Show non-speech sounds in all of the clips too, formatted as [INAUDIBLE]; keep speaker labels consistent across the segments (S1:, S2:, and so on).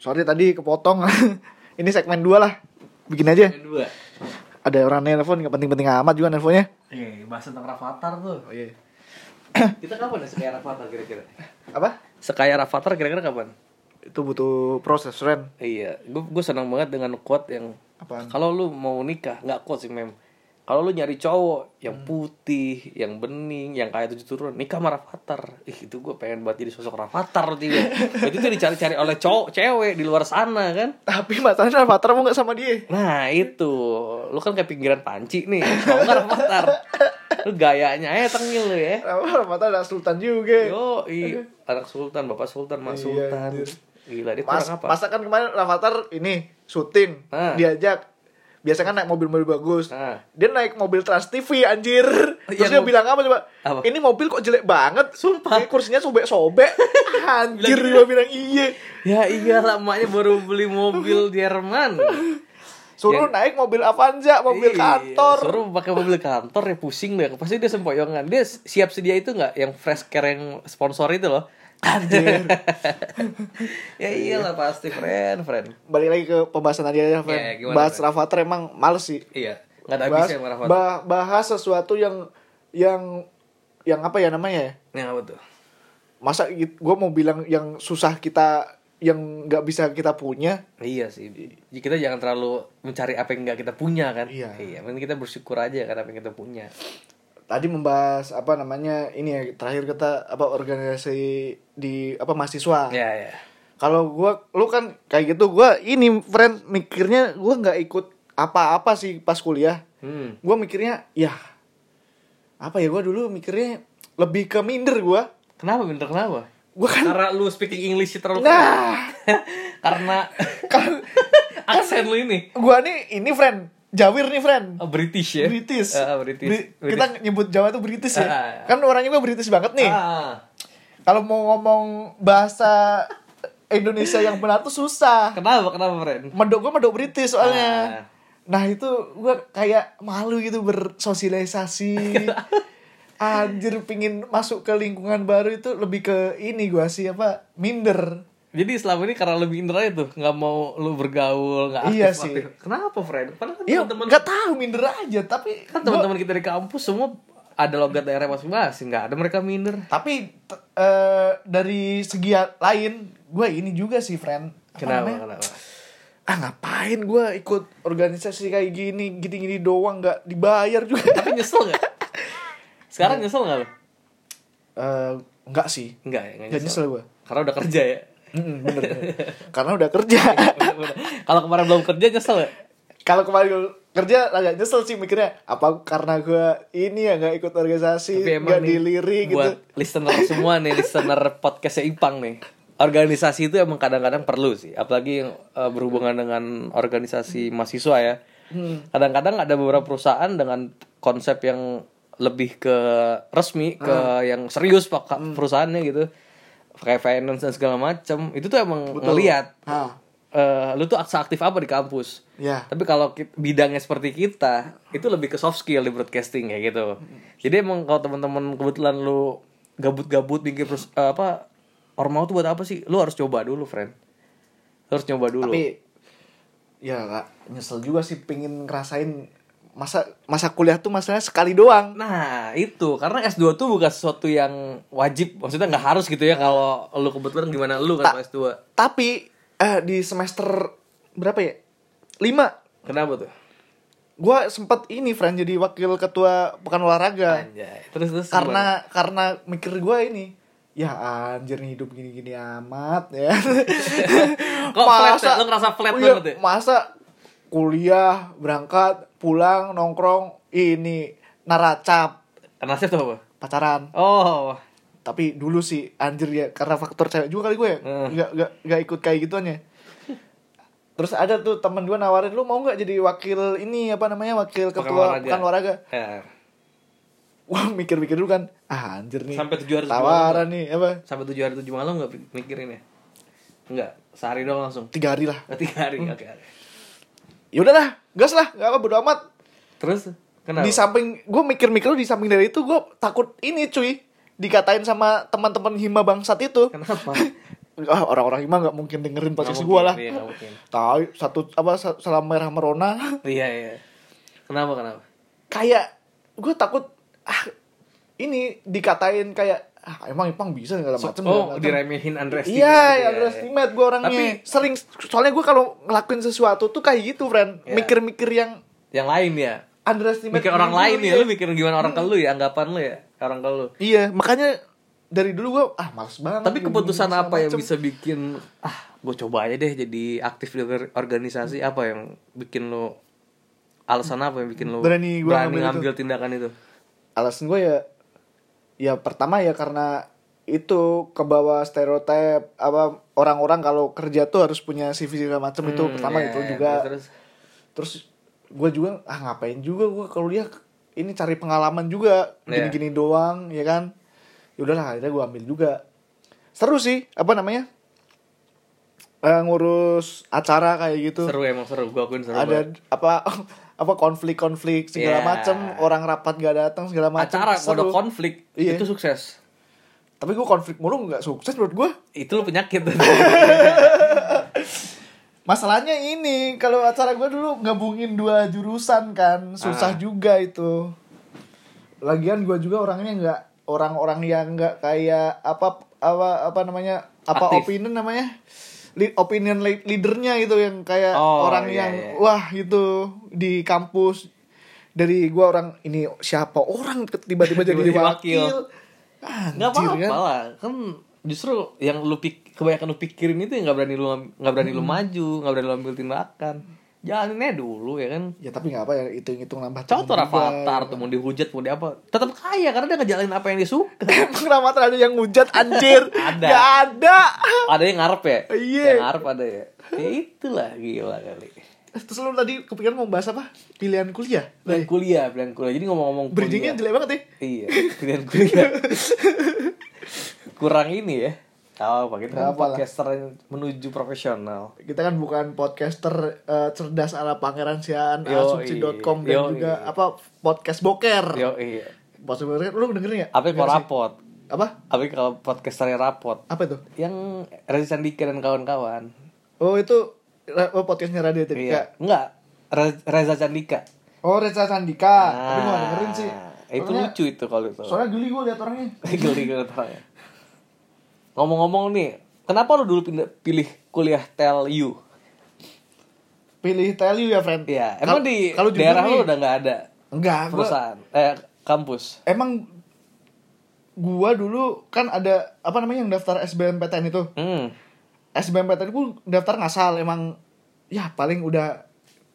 S1: Sorry tadi kepotong. [LAUGHS] Ini segmen 2 lah. Bikin aja.
S2: Yang dua.
S1: Ada orang nelpon nggak penting-penting amat juga nelponnya.
S3: Eh, bahas tentang Rafathar tuh.
S1: Oh iya.
S2: Kita kapan ya sekaya Rafathar kira-kira?
S1: Apa?
S2: Sekaya Rafathar kira-kira kapan?
S1: Itu butuh proses Ren.
S2: Iya, gue gue senang banget dengan quote yang
S1: Apaan?
S2: kalau lu mau nikah nggak quote sih mem. Kalau lu nyari
S3: Hmm.
S2: cowok yang putih, yang bening, yang kayak tujuh turun, nikah sama Rafathar. Ih, itu gue pengen buat jadi sosok Rafathar nanti gue. itu tuh dicari-cari oleh cowok, cewek di luar sana kan.
S1: Tapi masalahnya Rafathar mau nggak sama dia?
S2: Nah itu, lu kan kayak pinggiran panci nih, kalau nggak Rafathar. Lu gayanya aja tengil lu ya.
S1: Rafathar ada Sultan juga.
S2: Yo, anak sultan, bapak sultan,
S1: Iya,
S2: mas sultan.
S1: anjir.
S2: Gila, dia
S1: Mas,
S2: kurang apa?
S1: masa kan kemarin Rafathar ini syuting
S2: Ah.
S1: diajak biasa kan naik mobil-mobil bagus
S2: Ah.
S1: dia naik mobil Trans TV anjir terus
S2: Iya,
S1: dia
S2: mobil-
S1: bilang apa coba
S2: Apa?
S1: ini mobil kok jelek banget sumpah kursinya sobek-sobek anjir dia bilang iya
S2: Ya iya lah, emaknya baru beli mobil Jerman.
S1: suruh naik mobil Avanza mobil
S2: Iya,
S1: kantor
S2: Suruh pakai mobil kantor ya pusing deh. Pasti dia sempoyongan. Dia siap sedia itu nggak yang fresh care yang sponsor itu loh. Anjir. [LAUGHS] ya iyalah pasti friend, friend.
S1: balik lagi ke pembahasan tadi aja Fren.
S2: Iya, gimana,
S1: bahas
S2: Fren?
S1: Rafathar emang males sih
S2: Iya, nggak ada
S1: bahas,
S2: habisnya sama Rafathar.
S1: bah- bahas sesuatu yang yang yang apa ya namanya ya
S2: Yang apa tuh?
S1: masa gue mau bilang yang susah kita yang nggak bisa kita punya
S2: Iya sih. Kita jangan terlalu mencari apa yang nggak kita punya kan.
S1: Iya.
S2: Iya, mending kita bersyukur aja kan apa yang kita punya.
S1: tadi membahas apa namanya ini ya terakhir kita apa organisasi di apa mahasiswa
S2: Iya, iya.
S1: kalau gua lu kan kayak gitu gua ini friend mikirnya gua nggak ikut apa-apa sih pas kuliah
S2: Hmm.
S1: gua mikirnya ya apa ya gua dulu mikirnya lebih ke minder gua
S2: Kenapa bener kenapa?
S1: gua kan
S2: Karena lu speaking English terlalu
S1: nah
S2: [LAUGHS] karena
S1: kan
S2: aksen lu ini
S1: gua nih ini friend jawir nih friend
S2: Oh, British ya.
S1: British.
S2: Ah, British.
S1: Bri-
S2: British.
S1: Kita nyebut Jawa tuh British ya.
S2: Ah, ah, ah.
S1: Kan orangnya juga British banget nih.
S2: Ah,
S1: Kalau mau ngomong bahasa Indonesia yang benar tuh susah.
S2: kenapa kenapa friend?
S1: Medok gue medok British soalnya.
S2: Ah.
S1: Nah itu gue kayak malu gitu
S2: [LAUGHS]
S1: bersosialisasi. Anjir pingin masuk ke lingkungan baru itu lebih ke ini gue sih apa minder.
S2: Jadi selama ini karena lebih minder aja tuh, nggak mau lu bergaul, nggak aktif,
S1: Iya sih.
S2: aktif. Kenapa friend? Padahal kan
S1: Iya
S2: teman-teman
S1: nggak tahu minder aja tapi
S2: kan
S1: gua-
S2: teman-teman kita di kampus semua ada logat daerah masing-masing, nggak ada mereka minder.
S1: tapi t- eh, dari segi lain gue ini juga sih friend. Apa
S2: Kenapa?
S1: namanya?
S2: Kenapa?
S1: ah ngapain gue ikut organisasi kayak gini gini-gini doang nggak dibayar juga [LAUGHS]
S2: Tapi nyesel nggak? Sekarang nyesel nggak lu?
S1: Eh, nggak sih
S2: Enggak ya,
S1: nggak nyesel gue
S2: Karena udah kerja ya. [LAUGHS]
S1: Mm-mm, Hmm, bener, bener. karena udah kerja [LAUGHS]
S2: Kalau kemarin belum kerja nyesel ya?
S1: kalau kemarin gua kerja agak nyesel sih mikirnya apa karena gue ini ya nggak ikut organisasi
S2: Tapi emang
S1: nggak
S2: nih,
S1: dilirik gitu
S2: buat listener semua nih, listener podcastnya Ipang nih. Organisasi itu emang kadang-kadang perlu sih, apalagi yang eh, berhubungan dengan organisasi mahasiswa ya.
S1: Hmm.
S2: Kadang-kadang ada beberapa perusahaan dengan konsep yang lebih ke resmi, ke
S1: Ah.
S2: yang serius pak
S1: Hmm.
S2: perusahaannya gitu, kayak finance dan segala macam. Itu tuh emang ngelihat
S1: ah
S2: eh, lu tuh aktif apa di kampus.
S1: ya
S2: Tapi kalau ki- bidangnya seperti kita, itu lebih ke soft skill di broadcasting ya gitu. Jadi emang kalau teman-teman kebetulan lu gabut-gabut bikin terus eh, apa ormau tuh buat apa sih? Lu harus coba dulu, friend. Lu harus coba dulu.
S1: tapi ya nggak nyesel juga sih pingin ngerasain masa masa kuliah tuh masalahnya sekali doang
S2: Nah, itu karena S2 tuh bukan sesuatu yang wajib, maksudnya nggak harus gitu ya kalau lu kebetulan gimana lu kan
S1: Tak.
S2: S2.
S1: tapi eh, di semester berapa ya lima
S2: Kenapa tuh?
S1: gue sempat ini friend jadi wakil ketua pekan olahraga
S2: Anjay. Terus terus
S1: karena karena mikir gue ini ya anjir nih hidup gini-gini amat ya
S2: [LAUGHS] Kok flat ya? Lu ngerasa flat
S1: Iya,
S2: banget ya?
S1: masa kuliah berangkat pulang nongkrong ini naracap
S2: gimana? nasib tuh apa?
S1: pacaran
S2: Oh.
S1: tapi dulu sih anjir ya karena faktor cewek juga kali gue ya
S2: Hmm.
S1: nggak nggak nggak ikut kayak gituan ya terus ada tuh temen gue nawarin lu mau nggak jadi wakil ini apa namanya wakil
S2: Pekan
S1: ketua
S2: olahraga.
S1: pekan olahraga
S2: Ya.
S1: wah mikir-mikir dulu kan ah anjir nih
S2: Sampai 700
S1: tawaran
S2: kan?
S1: nih apa
S2: sampai tujuh hari tujuh malam nggak mikirin ya nggak sehari doang langsung [LAUGHS]
S1: tiga hari lah
S2: Oh, tiga hari
S1: Hmm.
S2: oke oke.
S1: ya udahlah gas lah nggak apa bodo amat
S2: terus kenapa
S1: di samping gue mikir-mikir di samping dari [LAUGHS] itu gue takut ini cuy dikatain sama teman-teman hima bangsat itu
S2: kenapa
S1: ah, orang-orang imam nggak mungkin dengerin podcast gue
S2: Nggak mungkin,
S1: lah
S2: iya, nggak mungkin.
S1: tahu satu apa sa- salam merah merona
S2: Iya iya. Kenapa kenapa?
S1: kayak gue takut ah, ini dikatain kayak ah, emang Ipang bisa segala macam
S2: oh diremehin Andres.
S1: Iya, yang underestimate gue orangnya.
S2: ya, Tapi
S1: sering soalnya gue kalau ngelakuin sesuatu tuh kayak gitu, friend.
S2: Iya.
S1: Mikir-mikir yang
S2: Yang lain ya.
S1: underestimate.
S2: Mikir orang
S1: dulu,
S2: lain ya,
S1: iya.
S2: lu mikir gimana orang ke lu ya, anggapan lu ya, orang ke lu.
S1: Iya, makanya dari dulu gue ah males banget.
S2: Tapi
S1: gini,
S2: keputusan
S1: segala
S2: apa ya, yang
S1: macem.
S2: bisa bikin ah, gue coba aja deh jadi aktif di or-
S1: Hmm.
S2: organisasi apa yang bikin lu alasan apa yang bikin lu
S1: Berani gua
S2: berani
S1: ngambil itu.
S2: ngambil tindakan itu?
S1: Alasan gue ya, ya pertama ya karena itu ke bawah stereotip apa orang-orang kalau kerja tuh harus punya CV segala macem itu
S2: Hmm,
S1: pertama
S2: iya,
S1: itu
S2: iya.
S1: juga
S2: Terus,
S1: terus gue juga ah ngapain juga gue kalau dia ini cari pengalaman juga
S2: Iya.
S1: gini-gini doang ya kan ya udahlah akhirnya gue ambil juga seru sih apa namanya Eh, ngurus acara kayak gitu
S2: seru emang seru, gue akuin seru. banget.
S1: ada apa [LAUGHS] apa konflik-konflik segala
S2: Iya.
S1: macem orang rapat gak datang segala macam
S2: acara kalau ada
S1: seru
S2: konflik
S1: Iya.
S2: itu sukses.
S1: tapi gue konflik mulu nggak sukses menurut gue
S2: Itu lu
S1: [LAUGHS]
S2: penyakit.
S1: masalahnya ini kalau acara gue dulu gabungin dua jurusan kan susah
S2: Ah.
S1: juga itu lagian gue juga orangnya nggak orang-orang yang nggak kayak apa apa apa namanya apa
S2: Aktif.
S1: opinion namanya Li- opinion le- leadernya gitu yang kayak
S2: Oh,
S1: orang
S2: iya,
S1: yang
S2: iya.
S1: wah gitu di kampus dari gue orang ini siapa orang tiba-tiba jadi
S2: Tiba-tiba
S1: wakil,
S2: wakil.
S1: Anjir,
S2: nggak apa-apa
S1: kan?
S2: lah. Kan justru yang lu pik kebanyakan lu pikirin itu yang nggak berani lu nggak berani
S1: Hmm.
S2: lu maju, nggak berani lu ambil tindakan. Jalanin aja dulu ya kan.
S1: ya tapi nggak apa ya hitung-hitung nambah
S2: Cowok tuh
S1: temen juga.
S2: avatar tuh mau dihujat mau di apa tetap kaya karena dia ngejalanin apa yang dia suka.
S1: Emang Ramadhan ada yang hujat anjir
S2: [LAUGHS] Ada.
S1: Gak ada
S2: Ada yang ngarep ya?
S1: Iya.
S2: Yang ngarep ada ya. Ya itulah gila kali.
S1: Eh, Terus lu tadi kepikiran mau bahas apa? Pilihan kuliah?
S2: Pilihan kuliah, pilihan kuliah. Jadi ngomong-ngomong
S1: Iya. Bridgingnya
S2: kuliah.
S1: jelek banget ya
S2: Iya, pilihan kuliah. Kurang ini ya. Tahu apa kita kan
S1: Nggak apa lah.
S2: podcaster yang menuju profesional.
S1: Kita kan bukan podcaster eh, cerdas ala pangeran siaan
S2: Yoi.
S1: Asumsi.com Dan
S2: Yoi.
S1: juga apa podcast boker
S2: Yo iya.
S1: Podcast boker lu dengerin gak?
S2: Apa yang kalau
S1: Dengerin sih.
S2: rapot?
S1: Apa?
S2: Apa yang kalau podcasternya rapot?
S1: Apa itu?
S2: Yang Reza Sandika dan kawan-kawan.
S1: Oh itu ra- oh, podcastnya Radio Tindika
S2: Iya. Enggak. Re- Reza Candika.
S1: Oh Reza Sandika Tapi gue
S2: Ah,
S1: gak dengerin sih
S2: Itu
S1: Soalnya-
S2: lucu itu kalau itu.
S1: Soalnya geli gue liat orangnya
S2: [LAUGHS] Geli geli orangnya. Ngomong-ngomong nih, kenapa lu dulu pindah, pilih kuliah Tell You?
S1: Pilih tell you ya friend
S2: Iya,
S1: Kal-
S2: emang di
S1: kalau jujur
S2: daerah
S1: nih,
S2: lu udah nggak ada
S1: Enggak Ah, gua-
S2: perusahaan, eh kampus.
S1: emang gua dulu kan ada apa namanya yang daftar SBMPTN itu
S2: Hmm.
S1: SBMPTN gua daftar ngasal emang ya paling udah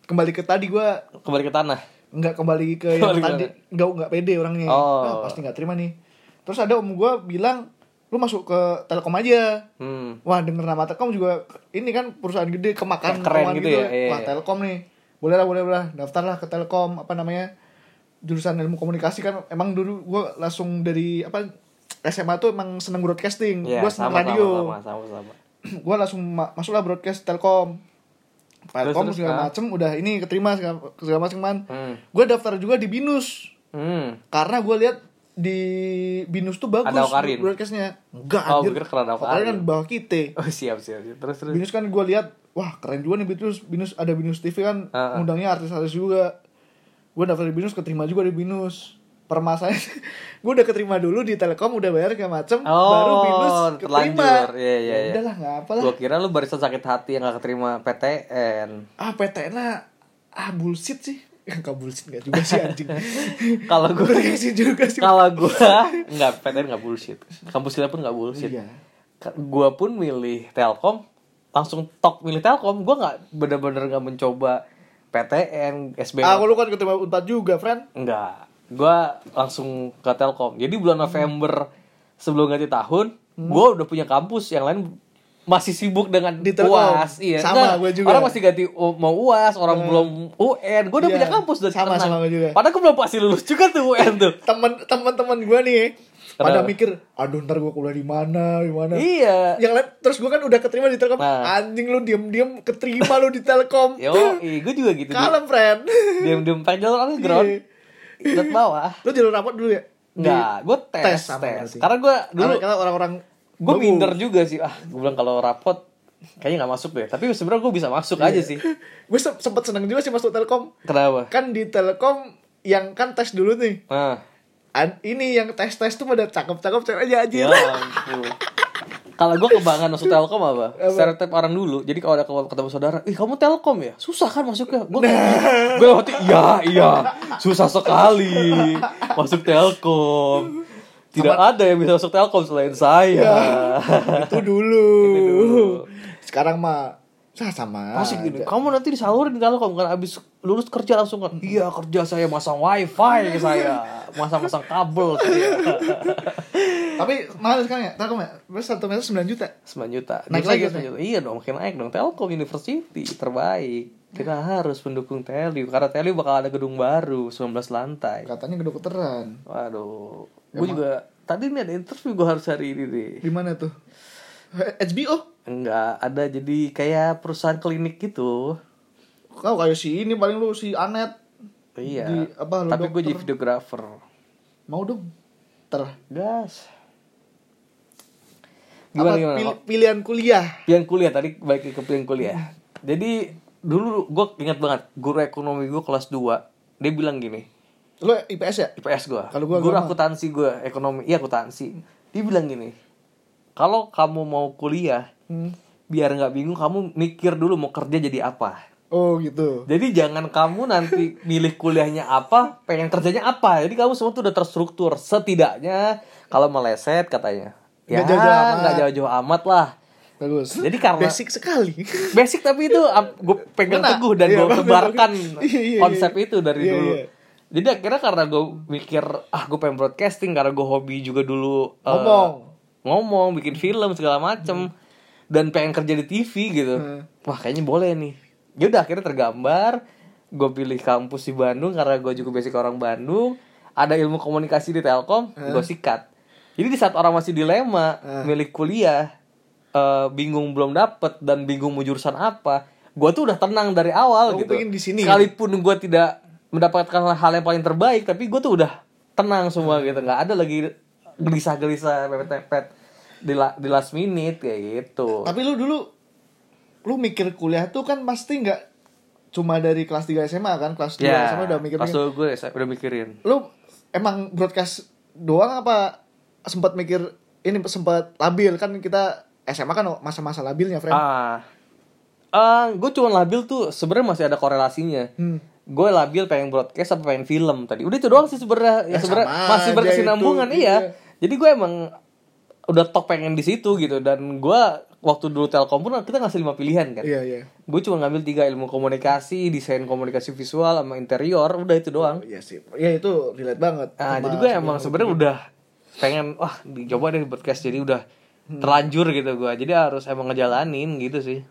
S1: kembali ke tadi gua
S2: Kembali ke tanah.
S1: nggak kembali ke yang
S2: Kembali ke
S1: tadi nggak nggak pede orangnya
S2: Oh.
S1: Ah, pasti nggak terima nih terus ada om gua bilang lu masuk ke Telkom aja
S2: Hmm.
S1: wah denger nama Telkom juga ini kan perusahaan gede kemakan
S2: Keren
S1: kemakan
S2: gitu ya, iya,
S1: wah
S2: iya.
S1: Telkom nih boleh lah boleh lah daftarlah ke Telkom apa namanya jurusan ilmu komunikasi kan emang dulu gue langsung dari apa SMA tuh emang seneng broadcasting
S2: Iya,
S1: gue seneng radio [CLEARS THROAT]
S2: Sama, sama, sama, sama.
S1: gue langsung ma- masuklah broadcast Telkom Telkom
S2: terus,
S1: segala
S2: ah.
S1: macem udah ini keterima segala, segala macem man
S2: Hmm.
S1: gue daftar juga di Binus
S2: Hmm.
S1: karena gue lihat di Binus tuh bagus
S2: Ada Okarin?
S1: broadcastnya enggak
S2: Oh,
S1: anjir
S2: gua kira karena ada
S1: Okarin
S2: Okarin.
S1: kan di bawah kita
S2: Oh, siap, siap, siap. Terus terus.
S1: Binus kan gue lihat wah keren juga nih Binus Binus ada Binus TV kan
S2: Ah, ah.
S1: ngundangnya artis-artis juga gue daftar di Binus keterima juga di Binus permasalahan [LAUGHS] gue udah keterima dulu di Telkom udah bayar kayak macem
S2: Oh,
S1: baru Binus keterima Ya
S2: terlanjur. Iya, iya, iya.
S1: udahlah nggak apa lah
S2: Gua kira lu barisan sakit hati yang gak keterima
S1: [LAUGHS]
S2: PTN.
S1: ah PTN lah ah bullshit sih [LAUGHS] Enggak bullshit gak juga sih anjing
S2: [LAUGHS] Kalau gua-
S1: Berkasih juga sih
S2: Kalau gua nggak PTN nggak bullshit. Kampus kita pun nggak bullshit.
S1: Iya.
S2: Ka- Gua pun milih Telkom, langsung tok milih Telkom. Gua nggak bener-bener nggak mencoba PTN, SBM.
S1: ah lu kan keterima unpad juga friend
S2: Nggak. Gua langsung ke Telkom. Jadi bulan November sebelum ganti tahun,
S1: Hmm.
S2: gua udah punya kampus yang lain masih sibuk dengan
S1: Di Telkom.
S2: UAS, iya.
S1: Sama,
S2: Nggak,
S1: gua juga. Hmm.
S2: Orang masih ganti u- mau UAS, orang belum UN. Gua udah
S1: Iya.
S2: punya kampus dari
S1: Sama, sama gua juga.
S2: Padahal gua belum pasti lulus juga tuh UN tuh.
S1: temen temen temen gue nih pada
S2: Kenapa?
S1: mikir aduh ntar gue kuliah di mana di mana
S2: Iya.
S1: yang lain terus gue kan udah keterima di Telkom
S2: Nah.
S1: anjing lu diem diem keterima lu di Telkom
S2: [LAUGHS] Yo, gue juga gitu.
S1: kalem
S2: [LAUGHS]
S1: friend
S2: Diam-diam pengen jalur
S1: Iya.
S2: underground. Lihat bawah.
S1: lu jalur rapot dulu ya
S2: Enggak, gue tes,
S1: tes
S2: tes.
S1: sama berarti.
S2: Karena gue dulu
S1: dulu karena orang-orang
S2: gue
S1: [LAUGHS]
S2: minder juga sih ah gue bilang kalau rapot kayaknya nggak masuk deh tapi sebenarnya gue bisa masuk aja sih
S1: gue sempet seneng juga sih masuk telkom
S2: kenapa
S1: kan di telkom yang kan tes dulu nih
S2: nah
S1: An- ini yang tes tes tuh pada cakep cakep cewek aja aja
S2: ya ampun kalau gue kebangan masuk telkom apa? Stereotip orang dulu. Jadi kalau ada kalau ketemu saudara, ih kamu telkom ya? Susah kan masuknya? Gue gue waktu iya iya susah sekali masuk telkom. Tidak ada yang bisa masuk telkom selain saya.
S1: [LAUGHS] itu dulu sekarang mah sah sama
S2: Pasti gini,
S1: aja.
S2: kamu nanti disalurin kalau kamu kan abis lulus kerja langsung kan Iya kerja saya masang wifi ke saya Masang-masang kabel [LAUGHS] saya
S1: tapi mahal sekarang ya telkom ya Terus satu meter 9 juta
S2: 9 juta
S1: Naik
S2: Dulu
S1: lagi,
S2: saya 9 juta. Iya dong makin naik dong Telkom University terbaik Kita harus mendukung Teliu Karena Teliu bakal ada gedung baru 19 lantai
S1: katanya gedung keteran
S2: Waduh Gue juga Tadi nih ada interview gue harus hari ini deh
S1: di mana tuh Eh, HBO
S2: Enggak ada jadi kayak perusahaan klinik gitu
S1: kau kayak si ini paling lu si Anet
S2: Iya
S1: Di- apa, lu
S2: Tapi gue jadi
S1: dokter?
S2: videographer
S1: mau dong ter
S2: Gas.
S1: apa
S2: Gimana gimana?
S1: pil-
S2: Kok?
S1: pilihan kuliah
S2: Pilihan kuliah tadi baik ke pilihan kuliah. Jadi dulu gue ingat banget guru ekonomi gue kelas 2 dia bilang gini
S1: lu IPS ya
S2: IPS gue
S1: Kalau gua
S2: guru
S1: agama.
S2: akuntansi gue ekonomi iya akuntansi dia bilang gini kalau kamu mau kuliah
S1: Hmm.
S2: biar nggak bingung kamu mikir dulu mau kerja jadi apa
S1: oh gitu
S2: jadi jangan kamu nanti milih kuliahnya apa, pengen kerjanya apa. Jadi kamu semua tuh udah terstruktur. Setidaknya kalau meleset katanya. Ya,
S1: Nggak jauh-jauh amat.
S2: nggak jauh-jauh amat lah.
S1: bagus
S2: Jadi karena-
S1: basic
S2: [LAUGHS]
S1: sekali
S2: Basic tapi itu gue pegang
S1: Benar.
S2: teguh dan
S1: Iya,
S2: gue
S1: benar.
S2: tebarkan
S1: Iya, iya,
S2: konsep
S1: iya.
S2: itu dari
S1: Iya,
S2: dulu.
S1: iya.
S2: Jadi akhirnya karena gue mikir ah gue pengen broadcasting karena gue hobi juga dulu eh,
S1: Ngomong. Hmm.
S2: ngomong, bikin film segala macem dan pengen kerja di TV gitu. Wah kayaknya boleh nih. Ya udah akhirnya tergambar. Gue pilih kampus di Bandung karena gue juga basic orang Bandung. Ada ilmu komunikasi di Telkom,
S1: Hmm.
S2: gue sikat. Jadi di saat orang masih dilema milih kuliah, eh, bingung belum dapet dan bingung mau jurusan apa, gue tuh udah tenang dari awal
S1: Oh,
S2: gitu.
S1: pengen di sini.
S2: Sekalipun gue tidak mendapatkan hal yang paling terbaik, tapi gue tuh udah tenang semua gitu, nggak ada lagi gelisah-gelisah pepet-pepet di, la- di last minute kayak gitu.
S1: Tapi lu dulu lu mikir kuliah tuh kan pasti nggak cuma dari kelas 3 SMA kan, kelas 2
S2: Ya,
S1: SMA udah mikir
S2: pas dulu gue sa- udah mikirin.
S1: Lu emang broadcast doang apa sempat mikir ini sempat labil kan kita SMA kan masa-masa labilnya, friend.
S2: Ah, ah, gue cuma labil tuh sebenarnya masih ada korelasinya.
S1: Hmm.
S2: Gue labil pengen broadcast apa pengen film tadi. Udah itu doang sih sebenarnya. Ya,
S1: Ya,
S2: sebenarnya
S1: sama
S2: masih
S1: aja
S2: berkesinambungan
S1: itu,
S2: iya.
S1: iya.
S2: Jadi gue emang udah top pengen di situ gitu dan gue waktu dulu telkom pun kita ngasih lima pilihan kan.
S1: Iya, iya.
S2: Gue cuma ngambil tiga ilmu komunikasi, desain komunikasi visual sama interior. Udah itu doang.
S1: Iya sih. Ya itu relate banget.
S2: Ah,
S1: sama
S2: jadi gue
S1: sebelum-
S2: emang sebenarnya udah pengen wah dicoba deh podcast jadi udah
S1: Hmm.
S2: terlanjur gitu gue. Jadi harus emang ngejalanin gitu sih.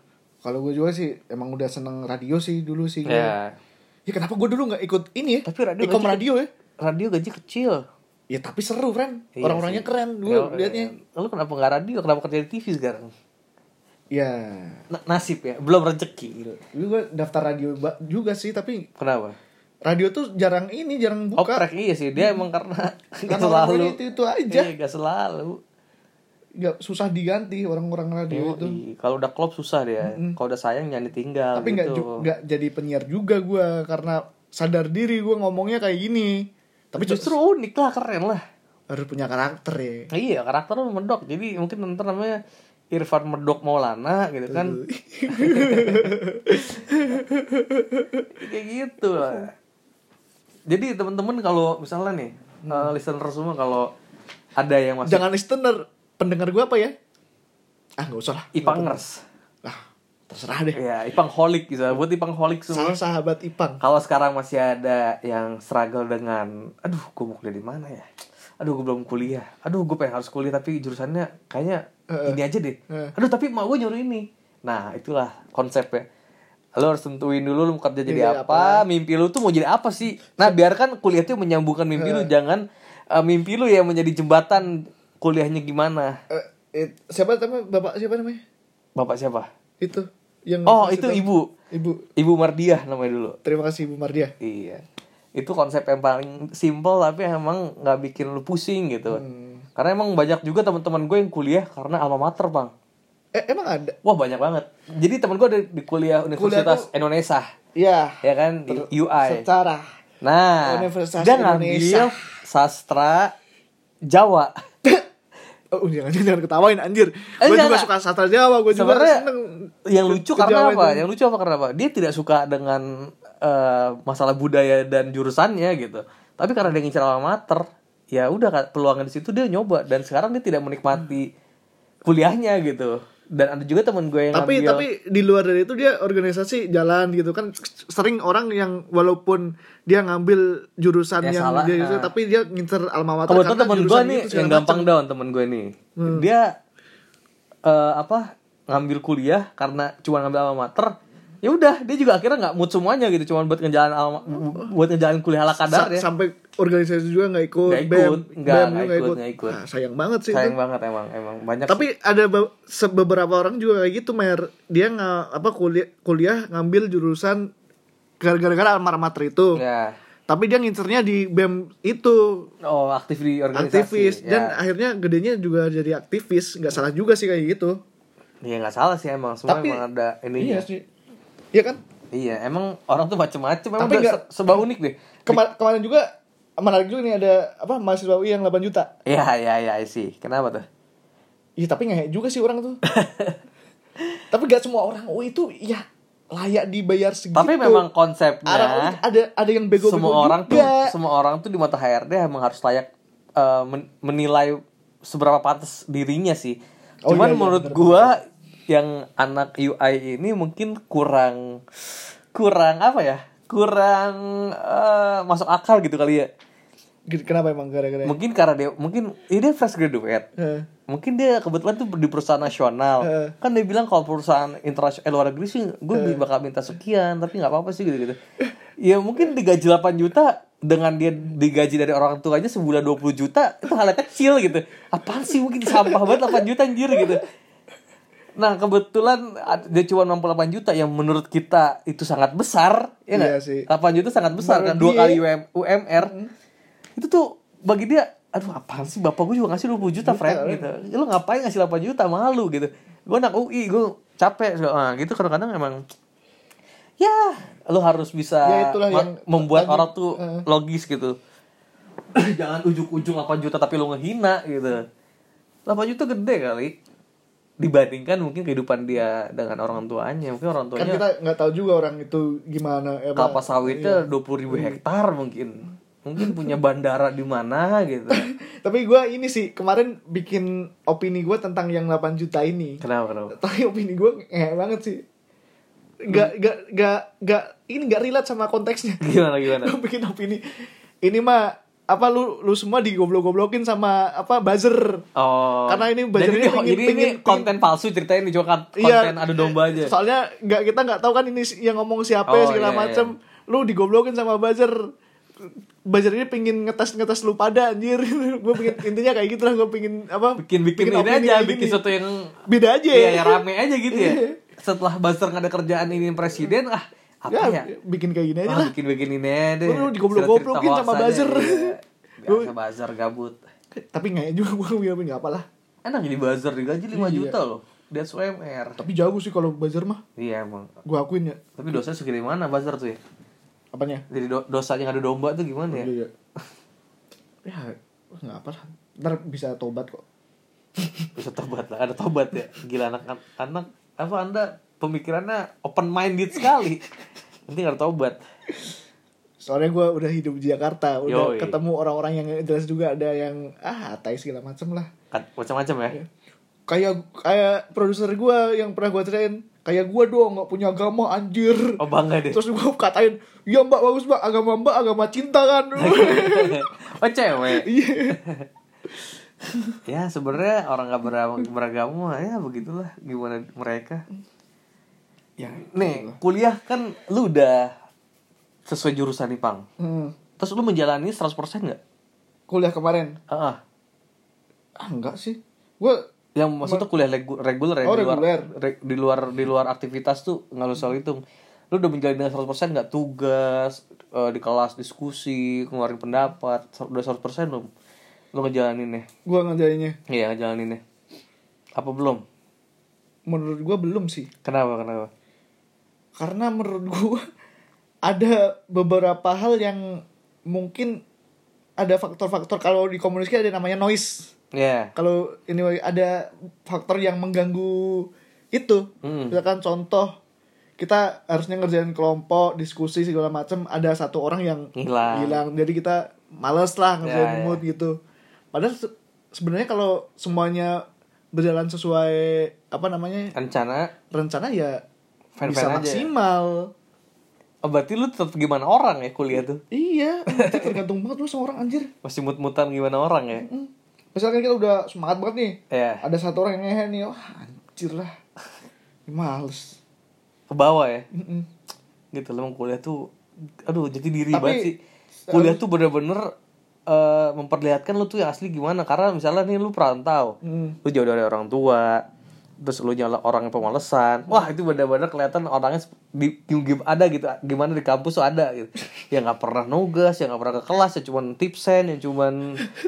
S1: kalau gue juga sih emang udah seneng radio sih dulu sih. gue.
S2: Ya.
S1: Ya kenapa gue dulu nggak ikut ini ya?
S2: Tapi radio
S1: Ikom
S2: gaji-
S1: radio ya.
S2: radio gaji kecil.
S1: Ya tapi seru, friend.
S2: Iya
S1: Orang-orangnya
S2: sih.
S1: keren gue
S2: Iya,
S1: liatnya.
S2: iya. Lu kenapa nggak radio? Kenapa kerja di TV sekarang? iya.
S1: Ya.
S2: Na- nasib ya, belum rezeki.
S1: Dulu gue Iya. daftar radio ba- juga sih, tapi
S2: Kenapa?
S1: radio tuh jarang ini, jarang
S2: Oh,
S1: buka.
S2: prek, iya sih. Dia emang karena nggak
S1: Karena orang
S2: [LAUGHS] selalu.
S1: radio itu- itu aja.
S2: Iya, nggak selalu.
S1: Nggak- susah diganti orang-orang radio Iya, itu.
S2: Yoi. Kalau udah klop susah dia. Kalau udah sayang jangan ditinggal
S1: Tapi nggak
S2: gitu.
S1: ju- nggak jadi penyiar juga gue karena sadar diri gue ngomongnya kayak gini. Tapi
S2: Tapi
S1: justru
S2: justru unik lah, keren lah.
S1: harus punya karakter ya.
S2: Iya, karakter lu medok. Jadi mungkin nanti namanya Irfan Medok Maulana gitu kan. [LAUGHS] Kayak gitu lah. Jadi teman-teman kalau misalnya nih eh, listener semua kalau ada yang masih
S1: Hmm. Jangan listener, pendengar gue apa ya? Ah nggak usah lah.
S2: Ipangers.
S1: Ah terserah deh.
S2: Ya, Ipang holik gitu. Buat Ipang holik semua.
S1: Salah sahabat Ipang.
S2: Kalau sekarang masih ada yang struggle dengan aduh, gue mau kuliah di mana ya? Aduh, gue belum kuliah. Aduh, gue pengen harus kuliah tapi jurusannya kayaknya ini aja deh.
S1: Heeh.
S2: Aduh, tapi emak gue nyuruh ini. Nah, itulah konsepnya. Lo harus tentuin dulu lu mau kerja jadi
S1: Jadi
S2: apa, mimpi lu tuh mau jadi apa sih. Nah, biarkan kuliah tuh menyambungkan mimpi lu, jangan eh, mimpi lu yang menjadi jembatan kuliahnya gimana.
S1: Eh, it- siapa namanya? Bapak siapa namanya?
S2: Bapak siapa?
S1: Itu yang
S2: Oh, itu ibu.
S1: Ibu.
S2: Ibu Mardiah namanya dulu.
S1: Terima kasih Ibu Mardia. Hmm.
S2: Iya. Itu konsep yang paling simple tapi emang nggak bikin lu pusing gitu. Karena emang banyak juga teman-teman gue yang kuliah karena alma mater, Bang.
S1: Eh, emang ada?
S2: Wah, banyak banget. Jadi teman gue ada di kuliah Universitas Indonesia,
S1: Ya.
S2: ya kan, di UI.
S1: Secara.
S2: Nah,
S1: Universitas
S2: dia
S1: Indonesia.
S2: ngambil sastra Jawa.
S1: Oh, jangan, [LAUGHS] jangan ketawain anjir.
S2: Eh,
S1: Gue juga
S2: enggak, enggak.
S1: suka sastra Jawa, gue juga
S2: Sebenarnya
S1: seneng.
S2: yang lucu
S1: ke Jawa
S2: karena apa?
S1: itu.
S2: Yang lucu apa karena apa? Dia tidak suka dengan eh, masalah budaya dan jurusannya gitu. Tapi karena dia ngincer alma mater, ya udah Kak, peluangnya di situ dia nyoba dan sekarang dia tidak menikmati kuliahnya gitu. Dan ada juga teman gue yang
S1: Tapi
S2: ngambil-
S1: tapi di luar dari itu dia organisasi jalan gitu kan sering orang yang walaupun dia ngambil jurusan
S2: Ya,
S1: yang
S2: salah,
S1: dia itu
S2: nah.
S1: tapi dia ngincer alma mater
S2: kebetulan temen gue
S1: jurusan
S2: nih
S1: itu segala Hmm.
S2: yang gampang down temen gue nih dia eh, apa ngambil kuliah karena cuma ngambil alma mater ya udah dia juga akhirnya nggak mood semuanya gitu cuma buat ngejalan alma, buat ngejalan kuliah ala
S1: Sa-
S2: kadarnya
S1: sampai organisasi juga nggak ikut,
S2: ya. Nggak
S1: BEM,
S2: ikut, nggak,
S1: BEM lu
S2: nggak
S1: nggak
S2: ikut, nggak ikut.
S1: Nah, sayang banget sih
S2: sayang
S1: itu.
S2: banget emang emang banyak
S1: Tapi ada be- se- beberapa orang juga kayak gitu, Mer. Dia nggak apa kuliah, kuliah ngambil jurusan gara-gara alma mater itu.
S2: ya
S1: Tapi dia ngincernya di BEM itu
S2: oh aktif di organisasi
S1: aktivis
S2: ya.
S1: dan akhirnya gedenya juga jadi aktivis, nggak salah juga sih kayak gitu.
S2: ya nggak salah sih emang semua
S1: Tapi-
S2: emang ada ininya
S1: sih. Iya kan?
S2: iya emang orang tuh macem-macem emang
S1: Tapi
S2: udah
S1: nggak-
S2: se- serba unik deh
S1: Kemar- kemarin juga menarik juga nih ada apa mahasiswa UI yang 8 juta.
S2: Iya, iya, iya, I see. Kenapa tuh?
S1: Iya tapi ngehe juga sih orang
S2: [LAUGHS]
S1: tuh. tapi gak semua orang UI itu ya layak dibayar segitu.
S2: Tapi memang konsepnya
S1: Ada- ada ada yang bego-bego
S2: semua orang tuh
S1: juga.
S2: semua orang tuh di mata HRD emang harus layak eh, men- menilai seberapa pantas dirinya sih.
S1: Oh,
S2: Cuman
S1: iya, iya,
S2: menurut
S1: bener,
S2: gua yang anak UI ini mungkin kurang kurang apa ya? Kurang eh, masuk akal gitu kali ya.
S1: Gini, Kenapa emang gara-gara?
S2: Mungkin karena dia mungkin ini dia fresh graduate.
S1: Heeh.
S2: Mungkin dia kebetulan tuh di perusahaan nasional.
S1: Heeh.
S2: Kan dia bilang kalau perusahaan internasional eh, luar negeri sih gue bakal minta sekian, tapi nggak apa-apa sih gitu-gitu. Ya mungkin digaji 8 juta dengan dia digaji dari orang tuanya sebulan 20 juta itu hal yang kecil gitu. Apaan sih mungkin sampah banget 8 juta anjir gitu. Nah kebetulan ad- dia cuma 68 juta yang menurut kita itu sangat besar ya nggak?
S1: Iya sih.
S2: 8 juta sangat besar
S1: Menurut
S2: kan dua
S1: dia-
S2: kali UM, UMR itu tuh bagi dia aduh apaan sih bapak gue juga ngasih 20 juta friend
S1: kan?
S2: gitu Ya, lu ngapain ngasih 8 juta malu gitu gue anak UI gue capek So, nah, gitu kadang-kadang emang ya lu harus bisa
S1: Ya, itulah
S2: ma-
S1: yang
S2: membuat
S1: tadi-
S2: orang tuh
S1: eh.
S2: logis gitu [CLEARS THROAT] jangan ujuk-ujuk 8 juta tapi lu ngehina gitu 8 juta gede kali dibandingkan mungkin kehidupan dia dengan orang tuanya mungkin orang
S1: Kan
S2: tuanya
S1: kita nggak tahu juga orang itu gimana. ya, Pak.
S2: Iya. kelapa sawitnya 20.000 ribu
S1: Iya.
S2: hektar mungkin mungkin punya bandara di mana gitu
S1: Tapi gue ini sih kemarin bikin opini gue tentang yang 8 juta ini.
S2: kenapa kenapa
S1: Tapi opini gue ngehe banget sih. Gak, gak, gak, gak, ini gak relate sama konteksnya.
S2: gimana gimana
S1: Gue bikin opini. Ini mah, apa lu lu semua digoblok-goblokin sama apa buzzer.
S2: oh
S1: Karena ini
S2: jadi
S1: budgetnya
S2: ini,
S1: pingin-
S2: jadi ini
S1: pingin-
S2: konten palsu ceritain nih cuma kan- konten ada domba aja
S1: Iya. Soalnya nggak kita nggak tahu kan ini si- yang ngomong siapa
S2: Oh,
S1: segala
S2: iya,
S1: macem. Lu digoblokin sama buzzer. Buzzer ini pingin ngetes ngetes lu pada anjir. [LAUGHS] gue pingin intinya kayak gitu lah. Gue pingin apa?
S2: bikin bikin ini
S1: opini
S2: aja
S1: kayak
S2: bikin
S1: gini.
S2: sesuatu yang
S1: beda aja. Iya.
S2: iya ya rame aja gitu ya setelah buzzer nggak ada kerjaan ini presiden ah apa
S1: Ya,
S2: ya
S1: bikin kayak gini aja
S2: Ah,
S1: lah.
S2: bikin-bikin ini aja deh.
S1: Lu digoblok-goblokin
S2: Cerita-cerita
S1: sama
S2: hoax aja,
S1: buzzer.
S2: iya.
S1: [LAUGHS] Gua-
S2: Biasa buzzer gabut.
S1: Tapi nggak ya juga [LAUGHS] gue bilang nggak apa lah.
S2: Enak jadi buzzer digaji 5
S1: Iya.
S2: juta loh. That's UMR.
S1: Tapi jago sih kalau buzzer mah.
S2: Iya emang.
S1: Gue akuin ya.
S2: Tapi dosanya segede mana buzzer tuh ya?
S1: Apanya?
S2: Jadi do- dosanya ngadu domba tuh gimana ya?
S1: Iya. [LAUGHS] Ya nggak apa lah. Ntar bisa tobat kok.
S2: [LAUGHS] Bisa tobat lah, ada tobat ya. Gila anak anak apa Anda pemikirannya open minded sekali. Nanti nggak ada tobat.
S1: soalnya gue udah hidup di Jakarta udah
S2: Yoi.
S1: ketemu orang-orang yang jelas juga ada yang ah tai segala macem lah
S2: Kan, Macam-macam ya.
S1: kayak kayak produser gue yang pernah gue ceritain kayak gue doang nggak punya agama anjir
S2: Oh bangga deh.
S1: terus gue katain iya mbak bagus mbak agama mbak agama cinta kan
S2: [LAUGHS] oh cewek.
S1: [LAUGHS] iya
S2: Ya sebenarnya orang nggak ber- beragama ya begitulah gimana mereka.
S1: ya
S2: Nih kuliah kan lu udah sesuai jurusan nih pang.
S1: hmm.
S2: Terus lu menjalani 100% nggak?
S1: kuliah kemarin
S2: Ah, ah.
S1: ah enggak sih gue
S2: yang maksudnya kuliah regu- reguler ya
S1: Oh,
S2: di luar
S1: reguler.
S2: re- di luar di luar aktivitas tuh nggak lu soal hitung lu udah menjalani dengan 100% nggak tugas eh, di kelas diskusi ngeluarin pendapat ser- udah 100% belum Lu ngejalaninnya.
S1: Gua ngejalaninnya.
S2: Iya, ngejalaninnya. Apa belum?
S1: Menurut gua belum sih.
S2: Kenapa, kenapa?
S1: Karena menurut gua [LAUGHS] ada beberapa hal yang mungkin ada faktor-faktor kalau di komunikasi ada namanya noise.
S2: Iya.
S1: Kalau ini ada faktor yang mengganggu itu.
S2: Hmm.
S1: Misalkan contoh kita harusnya ngerjain kelompok, diskusi segala macam, ada satu orang yang
S2: Hilang.
S1: Jadi kita males lah ngerjain
S2: Ya, ya.
S1: mood gitu. Padahal se- sebenarnya kalau semuanya berjalan sesuai apa namanya
S2: Rencana
S1: rencana ya
S2: Fan-fan
S1: bisa
S2: aja ya?
S1: maksimal.
S2: Oh, berarti lu tetap gimana orang ya kuliah tuh?
S1: Iya, itu tergantung banget lu sama orang anjir.
S2: Masih mut-mutan gimana orang ya?
S1: Mm. Misalkan kita udah semangat banget nih,
S2: Iya.
S1: ada satu orang yang ngehe nih, wah anjir lah, males.
S2: Ke bawah ya.
S1: Mm-mm.
S2: Gitu loh, emang kuliah tuh aduh jadi diri
S1: Tapi,
S2: banget sih. Kuliah tuh bener-bener eh, memperlihatkan lu tuh yang asli gimana karena misalnya nih lu perantau.
S1: Mm.
S2: Lu jauh dari orang tua. Terus lu nyala orang yang pemalesan. Wah, itu bener-bener kelihatan orangnya sep- di, di- gim- ada gitu. Gimana di kampus tuh ada gitu. Yang nggak pernah nugas, yang nggak pernah ke kelas, yang cuman tipsen, yang cuman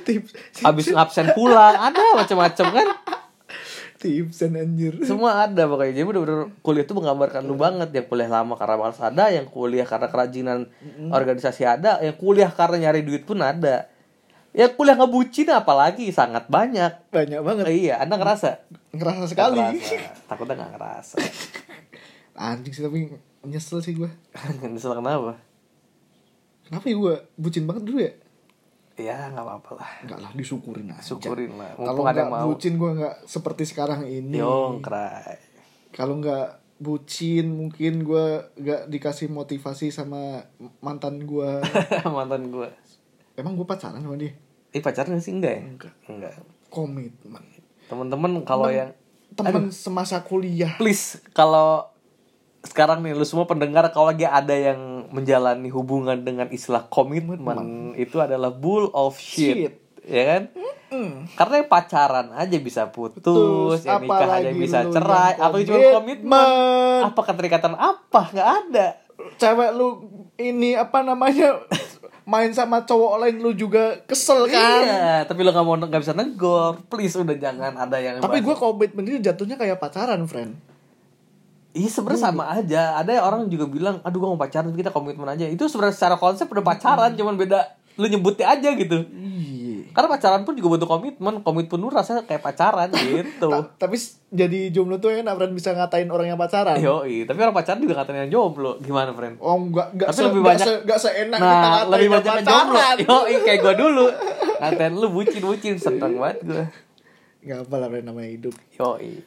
S1: Tips,
S2: abis absen pulang. Ada macam-macam kan.
S1: tips dan anjir.
S2: semua ada pokoknya jadi bener-bener kuliah tuh menggambarkan lu banget yang kuliah lama karena malas ada yang kuliah karena kerajinan organisasi ada yang kuliah karena nyari duit pun ada yang kuliah ngebucin apalagi sangat banyak
S1: Banyak banget,
S2: Eh, iya anda ngerasa
S1: ngerasa sekali.
S2: Nggak ngerasa. takutnya nggak ngerasa
S1: [LAUGHS] Anjing sih tapi nyesel sih gue.
S2: nyesel kenapa
S1: Kenapa ya gue bucin banget dulu ya?
S2: ya nggak apa-apa lah
S1: Enggak lah, disyukurin aja.
S2: syukurin lah
S1: Kalau
S2: mumpung ada yang
S1: nggak
S2: mau
S1: bucin gue nggak seperti sekarang ini.
S2: Yongkrai
S1: kalau nggak bucin mungkin gua nggak dikasih motivasi sama mantan gua
S2: [LAUGHS] mantan gue
S1: emang gua pacaran sama dia
S2: eh pacarnya sih enggak ya
S1: Enggak.
S2: enggak
S1: komitmen
S2: teman-teman kalau yang
S1: teman semasa kuliah
S2: please kalau sekarang nih lu semua pendengar kalau lagi ada yang menjalani hubungan dengan istilah komitmen itu adalah bull of shit,
S1: Shit.
S2: ya kan karena yang pacaran aja bisa putus,
S1: Putus,
S2: yang nikah aja
S1: apalagi
S2: bisa
S1: lu
S2: cerai
S1: yang
S2: apa cuma komitmen
S1: komitmen.
S2: apa keterikatan apa nggak ada
S1: cewek lu ini apa namanya main sama cowok lain lu juga kesel kan
S2: iya tapi lu nggak mau nggak bisa negor please udah jangan ada yang
S1: tapi
S2: bahas-
S1: gua komitmen itu jatuhnya kayak pacaran friend
S2: Iya sebenarnya sama aja. Ada orang juga bilang, aduh gua mau pacaran tapi kita komitmen aja. Itu sebenarnya secara konsep udah pacaran,
S1: Hmm.
S2: cuman beda lu nyebutnya aja gitu.
S1: iya
S2: Karena pacaran pun juga butuh komitmen. Komitmen lu rasanya kayak
S1: [LAUGHS]
S2: pacaran gitu.
S1: tapi s- jadi jomblo tuh enak friend bisa ngatain orang yang pacaran
S2: Yoi, tapi orang pacaran juga katanya jomblo. Gimana, friend?
S1: Oh enggak, enggak,
S2: Tapi
S1: se,
S2: lebih
S1: enggak
S2: banyak-
S1: se- enggak seenak kita
S2: Nah,
S1: ngatain
S2: lebih
S1: yang
S2: banyak yang jomblo. Iya.
S1: pacaran.
S2: Yoi, kayak gua dulu.
S1: [LAUGHS]
S2: Ngatain lu bucin-bucin, seneng banget gua.
S1: Gak apa lah Ren, namanya hidup
S2: Yoi.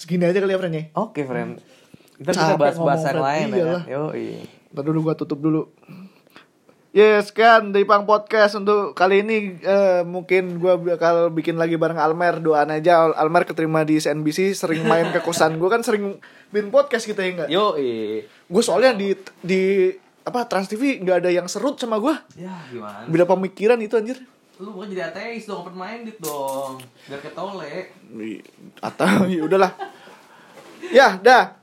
S1: Segini aja kali ya Ren ya
S2: Oke, friend. Ntar kita
S1: Capek
S2: bahas-bahas yang
S1: ngomong,
S2: lain
S1: friend. Iya
S2: ya. kan?
S1: Iyalah.
S2: Yoi.
S1: Ntar dulu gua tutup dulu Yes kan The Ipang Podcast untuk kali ini eh, Mungkin gua bakal bikin lagi bareng Almer Doain aja Al- Almer keterima di CNBC Sering main ke kosan gua kan sering bikin podcast gitu ya enggak
S2: Yoi.
S1: Gue soalnya di di apa Trans TV nggak ada yang serut sama gua
S2: Ya, gimana?
S1: Beda pemikiran itu anjir
S2: lu bukan jadi ateis dong open minded dong biar ketolek
S1: [LAUGHS] Atau ya udahlah Ya dah